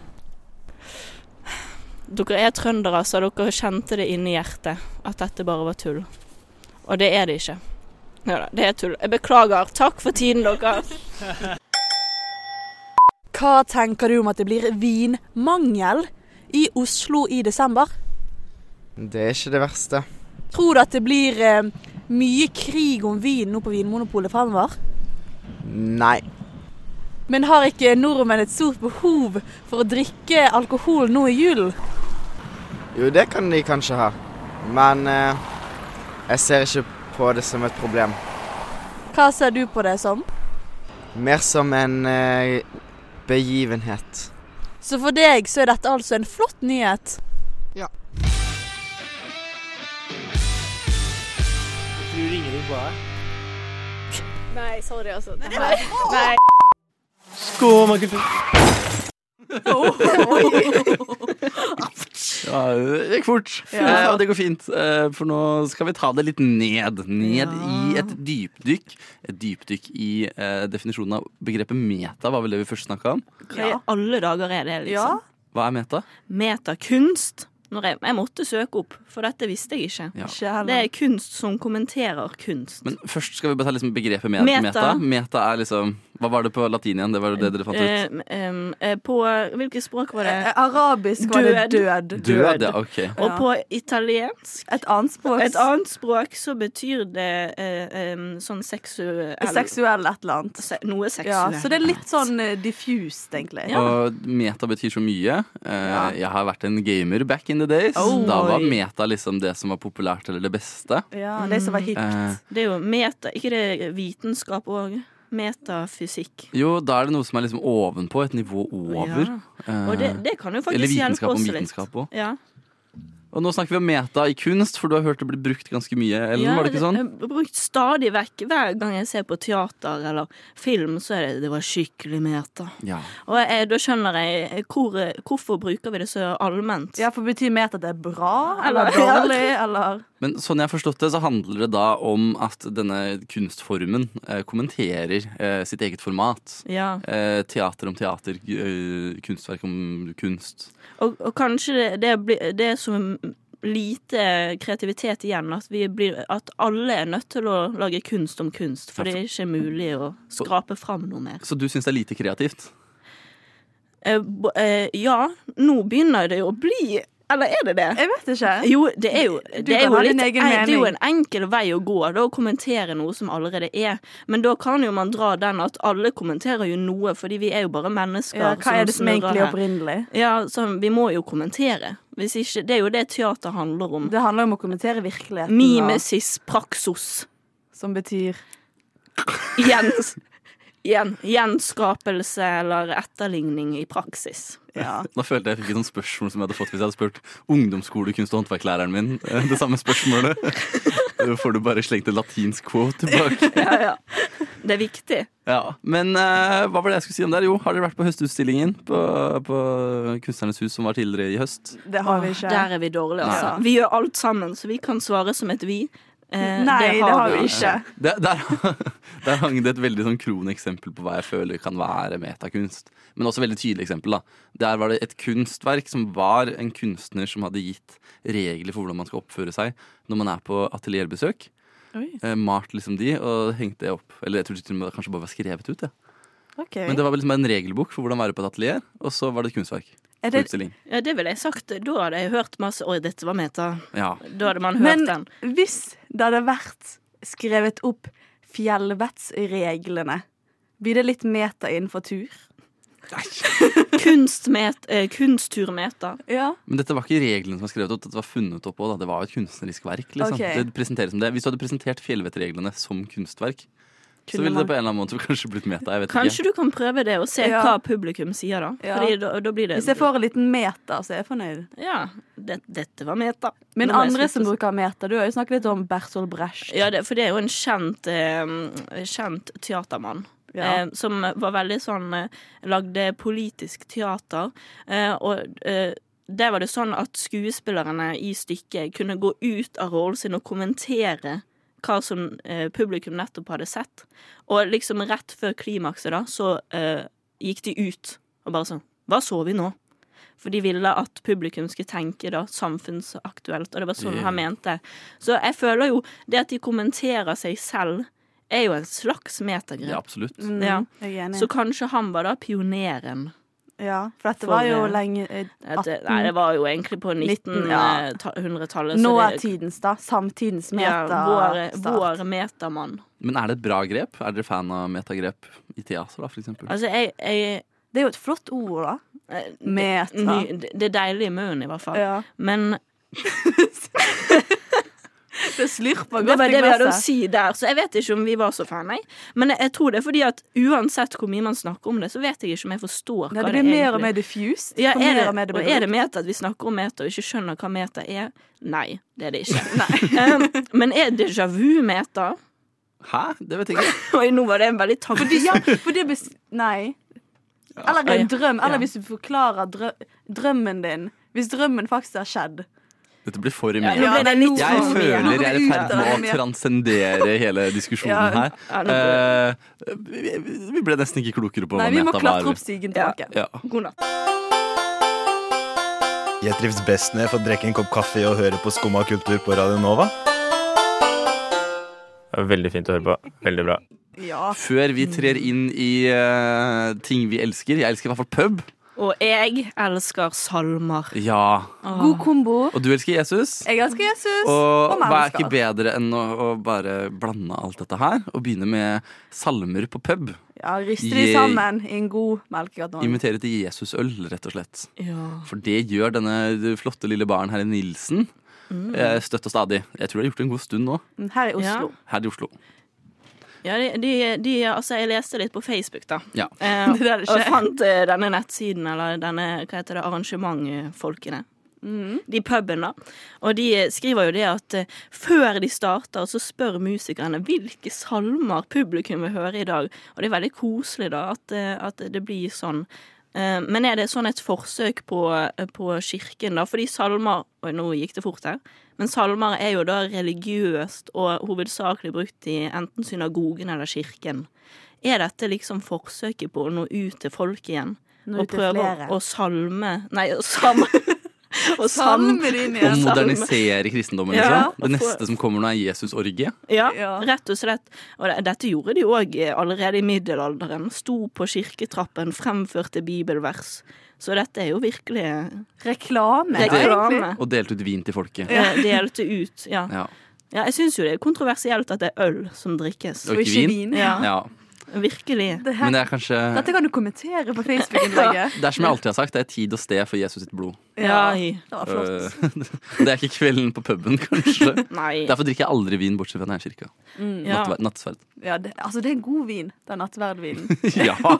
Speaker 4: Dere er trøndere, så dere kjente det inni hjertet at dette bare var tull. Og det er det ikke. Ja da, det er tull. Jeg beklager. Takk for tiden deres.
Speaker 8: Hva tenker du om at det blir vinmangel i Oslo i desember?
Speaker 15: Det er ikke det verste.
Speaker 8: Tror du at det blir eh, mye krig om vin nå på Vinmonopolet fremover?
Speaker 15: Nei.
Speaker 8: Men har ikke nordmenn et stort behov for å drikke alkohol nå i julen?
Speaker 15: Jo, det kan de kanskje ha. Men eh, jeg ser ikke på det som et problem.
Speaker 8: Hva ser du på det som?
Speaker 15: Mer som en eh, begivenhet.
Speaker 8: Så for deg så er dette altså en flott nyhet.
Speaker 15: Ja.
Speaker 14: Jeg tror ingenting på det.
Speaker 10: Nei, sorry, altså. Det
Speaker 14: var
Speaker 10: her, nei.
Speaker 3: Ja, det gikk fort,
Speaker 10: Ja.
Speaker 3: eh, og det går fint. Eh, for nå skal vi ta det litt ned. Ned i et dypdykk. Et dypdykk i eh, definisjonen av begrepet meta, var vel det vi først snakka om?
Speaker 4: Hva i alle dager er det, liksom?
Speaker 3: Hva er meta?
Speaker 4: Metakunst. Når jeg, jeg måtte søke opp, for dette visste jeg ikke.
Speaker 3: Ja.
Speaker 4: Det er kunst som kommenterer kunst.
Speaker 3: Men først skal vi bare ta liksom begrepet me-
Speaker 4: Meta.
Speaker 3: meta. meta. er liksom Hva var det på latin igjen? Det var jo det dere fant ut.
Speaker 4: Eh, em, eh, på hvilket språk var
Speaker 5: Eh,
Speaker 4: det?
Speaker 5: Arabisk var det død.
Speaker 3: Død, ja. OK.
Speaker 4: Og på italiensk
Speaker 5: Et annet språk.
Speaker 4: Et annet språk så betyr det eh, em, sånn seksuell
Speaker 5: Seksuell et eller annet.
Speaker 4: Se, noe
Speaker 5: Ja,
Speaker 4: seksuelt.
Speaker 5: så det er litt sånn eh, diffust, egentlig.
Speaker 3: Og meta betyr så mye. Eh, Jeg har vært en gamer back in the days.
Speaker 5: Oh.
Speaker 3: da var
Speaker 5: Oi.
Speaker 3: meta liksom det som var populært eller det beste.
Speaker 4: Ja,
Speaker 5: det som var
Speaker 3: hipt. Eh.
Speaker 4: Det er jo meta, ikke det vitenskap òg? Metafysikk.
Speaker 3: Jo, da er det noe som er liksom ovenpå, et nivå over. Eh,
Speaker 4: Og det, det kan jo
Speaker 3: eller
Speaker 4: faktisk hjelpe
Speaker 3: vitenskap om
Speaker 4: oss litt.
Speaker 3: vitenskap også.
Speaker 4: Ja.
Speaker 3: Og nå snakker vi om meta i kunst, for du har hørt det bli brukt ganske mye, Ellen?
Speaker 4: Ja,
Speaker 3: var det ikke sånn?
Speaker 4: Jeg har brukt stadig vekk. Hver gang jeg ser på teater eller film, så er det 'det var skikkelig meta'.
Speaker 3: Ja.
Speaker 4: Og jeg, da skjønner jeg eh, hvor, hvorfor bruker vi det så allment.
Speaker 5: Ja, for betyr meta at det er bra eller
Speaker 4: Eller- Ja.
Speaker 5: dårlig, eller
Speaker 3: Men sånn jeg har forstått det, så handler det da om at denne kunstformen eh, kommenterer eh, sitt eget format.
Speaker 4: Ja.
Speaker 3: Eh, teater om teater, g- eh, kunstverk om kunst.
Speaker 4: Og, og kanskje det, det, blir, det er så lite kreativitet igjen at, vi blir, at alle er nødt til å lage kunst om kunst, for det er ikke mulig å skrape fram noe mer.
Speaker 3: Så du syns det er lite kreativt?
Speaker 4: Eh, bo- eh, ja, nå begynner det jo å bli Eller er det det?
Speaker 5: Jeg vet ikke.
Speaker 4: Jo, det er jo,
Speaker 5: Eh, Du
Speaker 4: det er
Speaker 5: kan
Speaker 4: jo,
Speaker 5: ha din
Speaker 4: litt,
Speaker 5: egen
Speaker 4: eh, det er jo
Speaker 5: mening.
Speaker 4: en enkel vei å gå, da, å kommentere noe som allerede er. Men da kan jo man dra den at alle kommenterer jo noe, fordi vi er jo bare mennesker.
Speaker 5: ja, Hva er det som
Speaker 4: snurrer
Speaker 5: egentlig er
Speaker 4: her.
Speaker 5: opprinnelig?
Speaker 4: Ja, så vi må jo kommentere. Hvis ikke, det er jo det teater handler om.
Speaker 5: Det handler om å kommentere virkeligheten.
Speaker 4: Mimesis praxos.
Speaker 5: Som betyr
Speaker 4: Gjens- gjen- gjenskapelse eller etterligning i praksis.
Speaker 3: Da følte jeg jeg fikk et sånt spørsmål som jeg hadde fått hvis jeg hadde spurt ungdomsskolekunst- og håndverklæreren min eh, det samme spørsmålet. Da får du bare slengt et latinsk quote tilbake.
Speaker 4: Ja, ja. Det er viktig.
Speaker 3: Ja, Men eh, hva var det jeg skulle si om der? Jo, har dere vært på høstutstillingen på, på Kunstnernes hus som var tidligere i høst?
Speaker 5: Det har vi ikke.
Speaker 4: Der er vi dårlige, altså.
Speaker 3: Nei.
Speaker 4: Vi gjør alt sammen, så vi kan svare som et vi. Eh,
Speaker 5: Nei, det har vi ikke.
Speaker 3: Det, der, der hang det et veldig sånn kroneksempel på hva jeg føler kan være metakunst. Men også veldig tydelig eksempel. da. Der var det et kunstverk som var en kunstner som hadde gitt regler for hvordan man skal oppføre seg når man er på atelierbesøk.
Speaker 4: Oi.
Speaker 3: Eh, malt liksom de, og hengte det opp. Eller jeg trodde til og med det kanskje bare var skrevet ut. Ja.
Speaker 4: Ok.
Speaker 3: Men det var liksom en regelbok for hvordan være på et atelier, og så var det et kunstverk.
Speaker 4: Er
Speaker 3: på
Speaker 4: det-
Speaker 3: utstilling.
Speaker 4: Ja, det ville jeg sagt. Da hadde jeg hørt masse Oi, dette var meta.
Speaker 3: Ja.
Speaker 4: Da hadde man hørt
Speaker 5: Men
Speaker 4: den.
Speaker 5: hvis det hadde vært skrevet opp fjellvettsreglene, blir det litt meta innenfor tur?
Speaker 4: Kunstmet, eh, kunstturmeter.
Speaker 5: Ja.
Speaker 3: Men dette var ikke reglene som var skrevet opp, dette var funnet opp også, da. Det var jo et kunstnerisk verk. Liksom.
Speaker 4: Ok.
Speaker 3: Det presenteres som det. Hvis du hadde presentert fjellvettreglene som kunstverk, så
Speaker 4: Kunne
Speaker 3: ville det
Speaker 4: man-
Speaker 3: på en eller annen måte kanskje blitt meta. Jeg vet
Speaker 4: Kanskje
Speaker 3: ikke.
Speaker 4: du kan prøve det og se
Speaker 5: Ja.
Speaker 4: hva publikum sier, da.
Speaker 5: Ja.
Speaker 4: Fordi da, da blir det
Speaker 5: Hvis jeg får en liten meta, så er jeg fornøyd.
Speaker 4: Ja. Det, dette var meta.
Speaker 5: Men
Speaker 4: Nå må jeg
Speaker 5: andre
Speaker 4: slutte
Speaker 5: som
Speaker 4: å-
Speaker 5: bruker meta, du har jo snakket litt om Berthold Bresch.
Speaker 4: Ja, det, for det er jo en kjent, eh, kjent teatermann.
Speaker 5: Ja.
Speaker 4: Eh, som var veldig sånn eh, Lagde politisk teater. Eh, og eh, der var det sånn at skuespillerne i stykket kunne gå ut av rollen sin og kommentere hva som eh, publikum nettopp hadde sett. Og liksom rett før klimakset, da, så eh, gikk de ut og bare sånn Hva så vi nå? For de ville at publikum skulle tenke da, samfunnsaktuelt, og det var sånn
Speaker 16: Det-
Speaker 4: han mente. Så jeg føler jo det at de kommenterer seg selv, er jo en slags metagreie.
Speaker 3: Ja, absolutt.
Speaker 5: Mm,
Speaker 4: Ja.
Speaker 5: jeg er enig.
Speaker 4: Så kanskje han var da pioneren.
Speaker 5: Ja, for dette
Speaker 4: For,
Speaker 5: var jo
Speaker 4: eh,
Speaker 5: lenge eh, 18.
Speaker 4: Det, nei, det var jo egentlig på eh,
Speaker 5: 19, ja.
Speaker 4: 1900-tallet.
Speaker 5: Nå er tidens, da. Samtidens
Speaker 4: Ja,
Speaker 5: meta.
Speaker 4: vår, eh,
Speaker 5: start.
Speaker 4: vår metamann.
Speaker 3: Men er det et bra grep? Er dere fan av metagrep i teater, da, for eksempel?
Speaker 4: Altså, jeg, jeg eh,
Speaker 5: Det er jo et flott ord, da. Meta.
Speaker 4: ny- det- Det er deilig i munnen, i hvert fall.
Speaker 5: Ja.
Speaker 4: Men
Speaker 5: Det slurper
Speaker 4: Det
Speaker 5: godt
Speaker 4: var
Speaker 5: i
Speaker 4: det vi hadde å
Speaker 5: glasset.
Speaker 4: si der, så jeg vet ikke om vi var så fan, nei. Men jeg, jeg tror det er fordi at uansett hvor mye man snakker om det, så vet jeg ikke om jeg forstår
Speaker 5: Nei,
Speaker 4: hva
Speaker 5: det
Speaker 4: det
Speaker 5: blir mer og
Speaker 4: egentlig-
Speaker 5: mer diffused.
Speaker 4: Ja,
Speaker 5: Hvor
Speaker 4: er det,
Speaker 5: mer og mer det
Speaker 4: og
Speaker 5: blir
Speaker 4: er det
Speaker 5: brukt.
Speaker 4: meta at vi snakker om meta og ikke skjønner hva meta er? Nei, det er det ikke. um, men er déjà vu meta?
Speaker 3: Hæ? Det vet jeg ikke.
Speaker 4: Oi, nå var det en veldig
Speaker 5: Fordi, ja,
Speaker 4: tankefull
Speaker 5: for det bes... Nei. Eller en drøm. Eller hvis du forklarer drø drømmen din. Hvis drømmen faktisk har skjedd.
Speaker 3: Dette blir for
Speaker 5: Ja,
Speaker 3: mye.
Speaker 5: nå ble det litt
Speaker 3: jeg
Speaker 5: for mye.
Speaker 3: føler jeg er i ferd med
Speaker 5: Ja, det
Speaker 3: å
Speaker 5: blir-
Speaker 3: transcendere hele diskusjonen
Speaker 5: Ja,
Speaker 3: her.
Speaker 5: ja, nå
Speaker 3: Eh, vi, vi ble nesten ikke klokere på
Speaker 5: Nei,
Speaker 3: hva
Speaker 5: vi må
Speaker 3: meta var.
Speaker 5: klatre opp stigen tilbake.
Speaker 3: Ja.
Speaker 4: God natt.
Speaker 17: Jeg trives best når jeg får drikke en kopp kaffe og høre på Skumma kultur på Radio Nova.
Speaker 18: Veldig fint å høre på. Veldig bra.
Speaker 3: Før vi trer inn i eh, ting vi elsker. Jeg elsker i hvert fall pub.
Speaker 4: Og jeg elsker salmer.
Speaker 3: Ja.
Speaker 5: God kombo.
Speaker 3: Og du elsker Jesus.
Speaker 5: Jeg elsker Jesus.
Speaker 3: Og hva er
Speaker 5: mennesker.
Speaker 3: ikke bedre enn å, å bare blande alt dette her og begynne med salmer på pub?
Speaker 5: Ja, rister de
Speaker 3: Je-
Speaker 5: sammen i en god melkekartong.
Speaker 3: Invitere til Jesusøl, rett og slett.
Speaker 5: Ja.
Speaker 3: For det gjør denne flotte lille baren her i Nilsen
Speaker 4: Mm.
Speaker 3: eh, støtt og stadig. Jeg tror de har gjort det en god stund nå.
Speaker 5: Her i Oslo.
Speaker 3: Her i Oslo.
Speaker 4: Ja, de, de, de, altså jeg leste litt på Facebook, da.
Speaker 3: Ja.
Speaker 4: Eh,
Speaker 5: Det der det
Speaker 4: og
Speaker 5: skjer.
Speaker 4: fant eh, denne nettsiden, eller denne hva heter det, arrangementfolkene. De puben, da. Og de eh, skriver jo det at eh, før de starter, så spør musikerne hvilke salmer publikum vil høre i dag. Og det er veldig koselig, da, at, eh, at det blir sånn. Eh, Men er det sånn et forsøk på, eh, på kirken, da? Fordi salmer Oi, nå gikk det fort her. Men salmer er jo da religiøst og hovedsakelig brukt i enten synagogen eller kirken. Er dette liksom forsøket på å nå ut til folk igjen?
Speaker 5: Nå
Speaker 4: og
Speaker 5: ut til
Speaker 4: prøve
Speaker 5: flere.
Speaker 4: å salme Nei, å sam... å sam-
Speaker 5: Salme din
Speaker 3: Og
Speaker 4: salme.
Speaker 3: modernisere kristendommen,
Speaker 4: Ja.
Speaker 3: liksom. Det neste som kommer nå, er Jesusorgie.
Speaker 4: Ja, rett og slett. Og det- dette gjorde de òg allerede i middelalderen. Sto på kirketrappen, fremførte bibelvers. Så dette er jo virkelig
Speaker 5: Reklame.
Speaker 3: Og del-
Speaker 4: Reklame.
Speaker 3: Og delte ut vin til folket.
Speaker 4: Eh, Delte ut, ja.
Speaker 3: Ja.
Speaker 4: ja jeg syns jo det er kontroversielt at det er øl som drikkes.
Speaker 3: Og ikke vin.
Speaker 4: Ja.
Speaker 3: Ja.
Speaker 4: Virkelig.
Speaker 3: Men det er kanskje
Speaker 5: Dette kan du kommentere på Facebook-innlegget.
Speaker 3: Det er som jeg alltid har sagt, det er tid og sted for Jesus sitt blod.
Speaker 4: Ja, Øh.
Speaker 5: det var flott.
Speaker 3: Eh, det er ikke kvelden på puben, kanskje.
Speaker 4: Nei.
Speaker 3: Derfor drikker jeg aldri vin, bortsett fra når jeg er i kirka.
Speaker 5: Mm.
Speaker 3: Nattver- Nattsverd.
Speaker 5: Ja, det, altså det er en god vin, den nattverdvinen.
Speaker 3: Ja,
Speaker 5: Jeg var,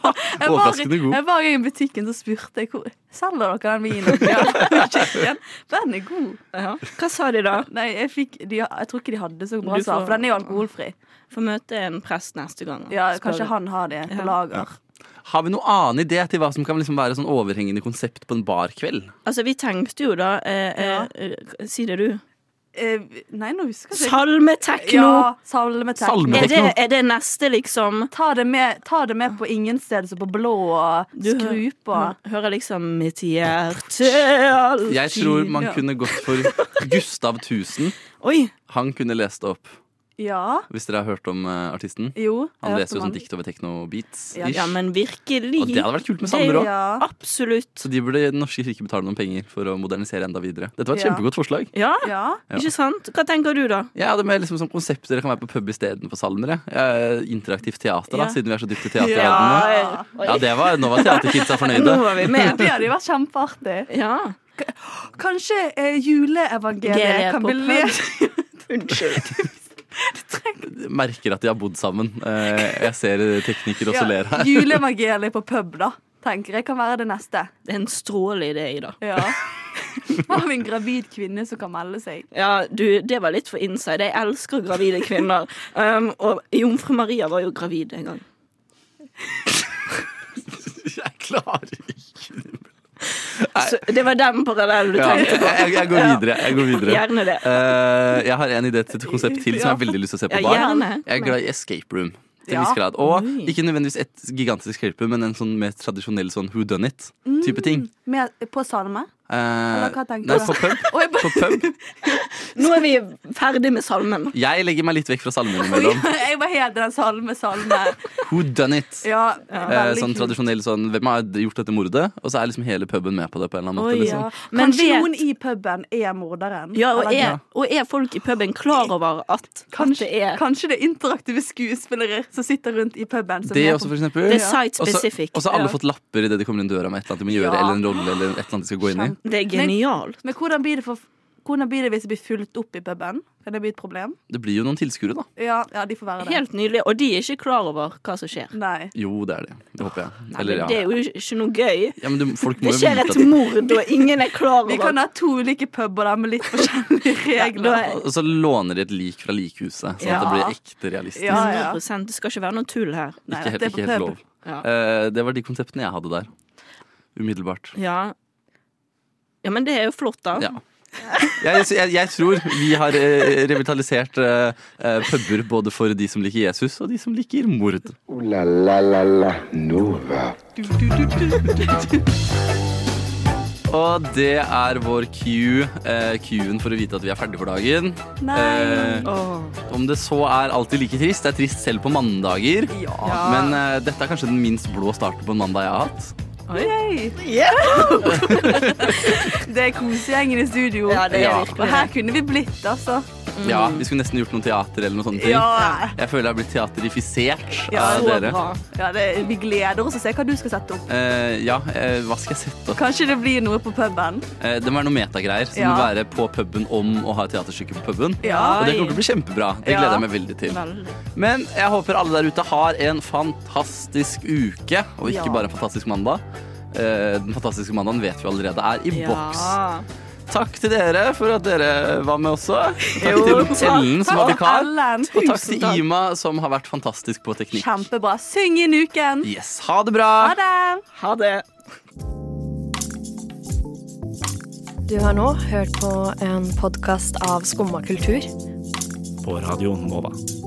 Speaker 3: overraskende
Speaker 5: i-
Speaker 3: god.
Speaker 5: jeg var i butikken, så spurte jeg hvor selger dere den vinen. Ja, i kirken? Den er god.
Speaker 4: Hva sa de da?
Speaker 5: Nei, jeg, fikk, de, jeg tror ikke de hadde så bra
Speaker 4: Du
Speaker 5: svar,
Speaker 4: får-
Speaker 5: for den er jo alkoholfri.
Speaker 4: Får møte en prest neste gang.
Speaker 5: Ja,
Speaker 4: Spør
Speaker 5: kanskje
Speaker 4: du.
Speaker 5: han har det på lager.
Speaker 3: Har vi noen annen idé til hva som kan liksom være sånn overhengende konsept på en barkveld?
Speaker 4: Altså, vi tenkte jo da eh, eh, Si det, du.
Speaker 5: eh, Nei, nå husker jeg ikke.
Speaker 4: Salmetekno!
Speaker 5: Ja, salmetekno.
Speaker 4: Er, det, er det neste, liksom?
Speaker 5: Ta det med, ta det med på ingensteds og på blå og skrup og
Speaker 4: Hører liksom mitt hjerte alltid
Speaker 3: Jeg tror man
Speaker 4: Ja.
Speaker 3: kunne gått for Gustav Tusen.
Speaker 4: Oi.
Speaker 3: Han kunne lest det opp,
Speaker 5: Ja.
Speaker 3: hvis dere har hørt om eh, artisten.
Speaker 5: Jo,
Speaker 3: han
Speaker 5: jeg
Speaker 3: leser
Speaker 5: hørte om
Speaker 3: jo sånn
Speaker 5: han.
Speaker 3: dikt over techno-beats.
Speaker 4: Ja, ja, men virkelig.
Speaker 3: Og det hadde vært kult med
Speaker 4: Det-
Speaker 3: salmer også.
Speaker 4: ja. Absolutt.
Speaker 3: Så de burde Den norske kirke betale noen penger for å modernisere enda videre. Dette var et
Speaker 4: Ja.
Speaker 3: kjempegodt forslag.
Speaker 4: Ja.
Speaker 3: Ja.
Speaker 4: ikke sant? Hva tenker du, da?
Speaker 3: Jeg hadde med liksom sånn konsept dere kan være på pub istedenfor salmer. jeg. Eh, Interaktivt teater, da,
Speaker 5: Ja.
Speaker 3: siden vi er så dypt i teater.
Speaker 5: Ja.
Speaker 3: Ja, ja det var, nå var teaterkidsa fornøyde.
Speaker 4: Nå var vi med.
Speaker 5: Det hadde jo vært kjempeartig. K- Kanskje eh, juleevangeliet
Speaker 4: Geriet
Speaker 5: kan
Speaker 4: på
Speaker 5: bli
Speaker 4: pub.
Speaker 5: lest
Speaker 4: Unnskyld.
Speaker 3: Merker at de har bodd sammen. Eh, Jeg ser teknikker også ler her.
Speaker 5: Juleevangeliet på pub, da. Tenker jeg kan være det neste.
Speaker 4: Det er en strålende idé, Ida.
Speaker 5: Ja. Har vi en gravid kvinne som kan melde seg?
Speaker 4: Ja, du, det var litt for inside. Jeg elsker gravide kvinner. Um, og jomfru Maria var jo gravid en gang.
Speaker 3: Jeg klarer ikke
Speaker 4: Så det var den parallellen du
Speaker 3: Ja, jeg,
Speaker 4: tenkte på.
Speaker 3: jeg, jeg går videre. Jeg, går videre.
Speaker 4: Gjerne det.
Speaker 3: Eh, jeg har en idé til et konsept til som jeg har veldig lyst til å se på.
Speaker 4: Ja,
Speaker 3: bar.
Speaker 4: gjerne.
Speaker 3: Jeg er glad i escape room. Til en
Speaker 4: Ja.
Speaker 3: viss grad. Og ikke nødvendigvis et gigantisk escape room, men en sånn mer tradisjonell sånn who done it-type ting.
Speaker 5: Med, på salme?
Speaker 3: Eh,
Speaker 5: Eller hva tenker
Speaker 3: nei,
Speaker 5: du?
Speaker 3: på pub. På pub.
Speaker 4: Nå er vi ferdig med salmen.
Speaker 3: Jeg legger meg litt vekk fra salmen
Speaker 5: Oi,
Speaker 3: innimellom.
Speaker 5: jeg var helt i den salme, salme.
Speaker 3: Who done it?
Speaker 5: Ja,
Speaker 3: Eh,
Speaker 5: veldig
Speaker 3: sånn
Speaker 5: kult.
Speaker 3: tradisjonell sånn Hvem har gjort dette mordet? Og så er liksom hele puben med på det. på en eller annen måte
Speaker 5: Oi, ja.
Speaker 3: liksom.
Speaker 4: Men
Speaker 5: Kanskje
Speaker 4: vet-
Speaker 5: noen i puben er morderen?
Speaker 4: Ja, og
Speaker 5: Eller-
Speaker 4: er, og er folk i puben klar over at
Speaker 5: Kanskje,
Speaker 4: det er
Speaker 5: kanskje det er interaktive skuespillere som sitter rundt i puben. som
Speaker 3: Det
Speaker 5: er
Speaker 3: også,
Speaker 5: på-
Speaker 3: for eksempel.
Speaker 4: Det er site
Speaker 3: Og så-
Speaker 4: specific.
Speaker 3: Og så har alle
Speaker 5: Ja.
Speaker 3: fått lapper idet de kommer inn døra med et eller annet de må gjøre,
Speaker 5: Ja.
Speaker 3: eller en rolle, eller et eller annet de skal gå inn i.
Speaker 4: Det er genialt.
Speaker 5: Men, men hvordan, blir det for, hvordan blir det hvis det blir fulgt opp i puben? Kan det bli et problem?
Speaker 3: Det blir jo noen tilskuere, da.
Speaker 5: Ja, ja de får være det.
Speaker 4: Helt nydelig. Og de er ikke klar over hva som skjer.
Speaker 5: Nei.
Speaker 3: Jo, det er det. Det håper jeg. Eller,
Speaker 4: men det er
Speaker 3: ja.
Speaker 4: jo ikke ikke noe gøy.
Speaker 3: ja, men du, folk må
Speaker 4: Det
Speaker 3: jo
Speaker 4: skjer
Speaker 3: vite
Speaker 4: et
Speaker 3: at-
Speaker 4: mord, og ingen er klar over
Speaker 5: Vi kan ha to ulike puber der med litt forskjellige regler.
Speaker 3: Og så låner de et lik fra likhuset, sånn at det blir
Speaker 5: Ja.
Speaker 3: ekte realistisk.
Speaker 5: Ja, ja.
Speaker 4: 100 Det skal ikke være noe tull her.
Speaker 3: Ikke helt, ikke helt lov.
Speaker 4: Ja.
Speaker 3: Eh, det var de konseptene jeg hadde der. Umiddelbart.
Speaker 4: Ja. ja, men det er jo flott, da.
Speaker 3: Ja. Jeg, jeg, jeg tror vi har eh, revitalisert eh, eh, puber både for de som liker Jesus, og de som liker mord.
Speaker 2: Ooh la la la la Nova.
Speaker 3: Og det er vår cue. Eh, cuen for å vite at vi er ferdig for dagen.
Speaker 5: Nei.
Speaker 3: Eh, Om det så er alltid like trist. Det er trist selv på mandager.
Speaker 5: Ja.
Speaker 3: Men eh, dette er kanskje den minst blå starten på en mandag jeg har hatt.
Speaker 5: Yay. det er kosegjengen i studio.
Speaker 3: Ja, det er Ja. virkelig
Speaker 5: Og her kunne vi blitt, altså.
Speaker 3: Ja, Vi skulle nesten gjort noe teater eller noe sånt.
Speaker 5: Ja.
Speaker 3: Jeg føler jeg har blitt teaterifisert
Speaker 5: Ja,
Speaker 3: av
Speaker 5: så
Speaker 3: dere.
Speaker 5: bra. Ja, det, vi gleder oss til å se hva du skal sette opp.
Speaker 3: Eh, ja, eh, hva skal jeg sette opp?
Speaker 5: Kanskje det blir noe på puben.
Speaker 3: Eh, det må være noe metagreier. Som
Speaker 5: Ja.
Speaker 3: må være på puben om å ha et teaterstykke på puben.
Speaker 5: Ja.
Speaker 3: Og det kommer til å bli kjempebra. Det gleder jeg
Speaker 5: Ja.
Speaker 3: meg veldig til. Men jeg håper alle der ute har en fantastisk uke, og ikke
Speaker 5: Ja.
Speaker 3: bare en fantastisk mandag. Eh, Den fantastiske mandagen vet vi allerede er i boks. Takk til dere for at dere var med også. Takk
Speaker 5: Jo,
Speaker 3: til Ellen som var
Speaker 5: takk.
Speaker 3: vikar.
Speaker 5: Ellen,
Speaker 3: Og takk
Speaker 5: tusen
Speaker 3: til
Speaker 5: takk.
Speaker 3: Ima som har vært fantastisk på teknikk.
Speaker 5: Kjempebra. Syng inn uken.
Speaker 3: Yes, Ha det bra.
Speaker 5: Ha det.
Speaker 4: Ha det.
Speaker 16: Du har nå hørt på en podkast av Skumma kultur.
Speaker 19: På radioen Nova.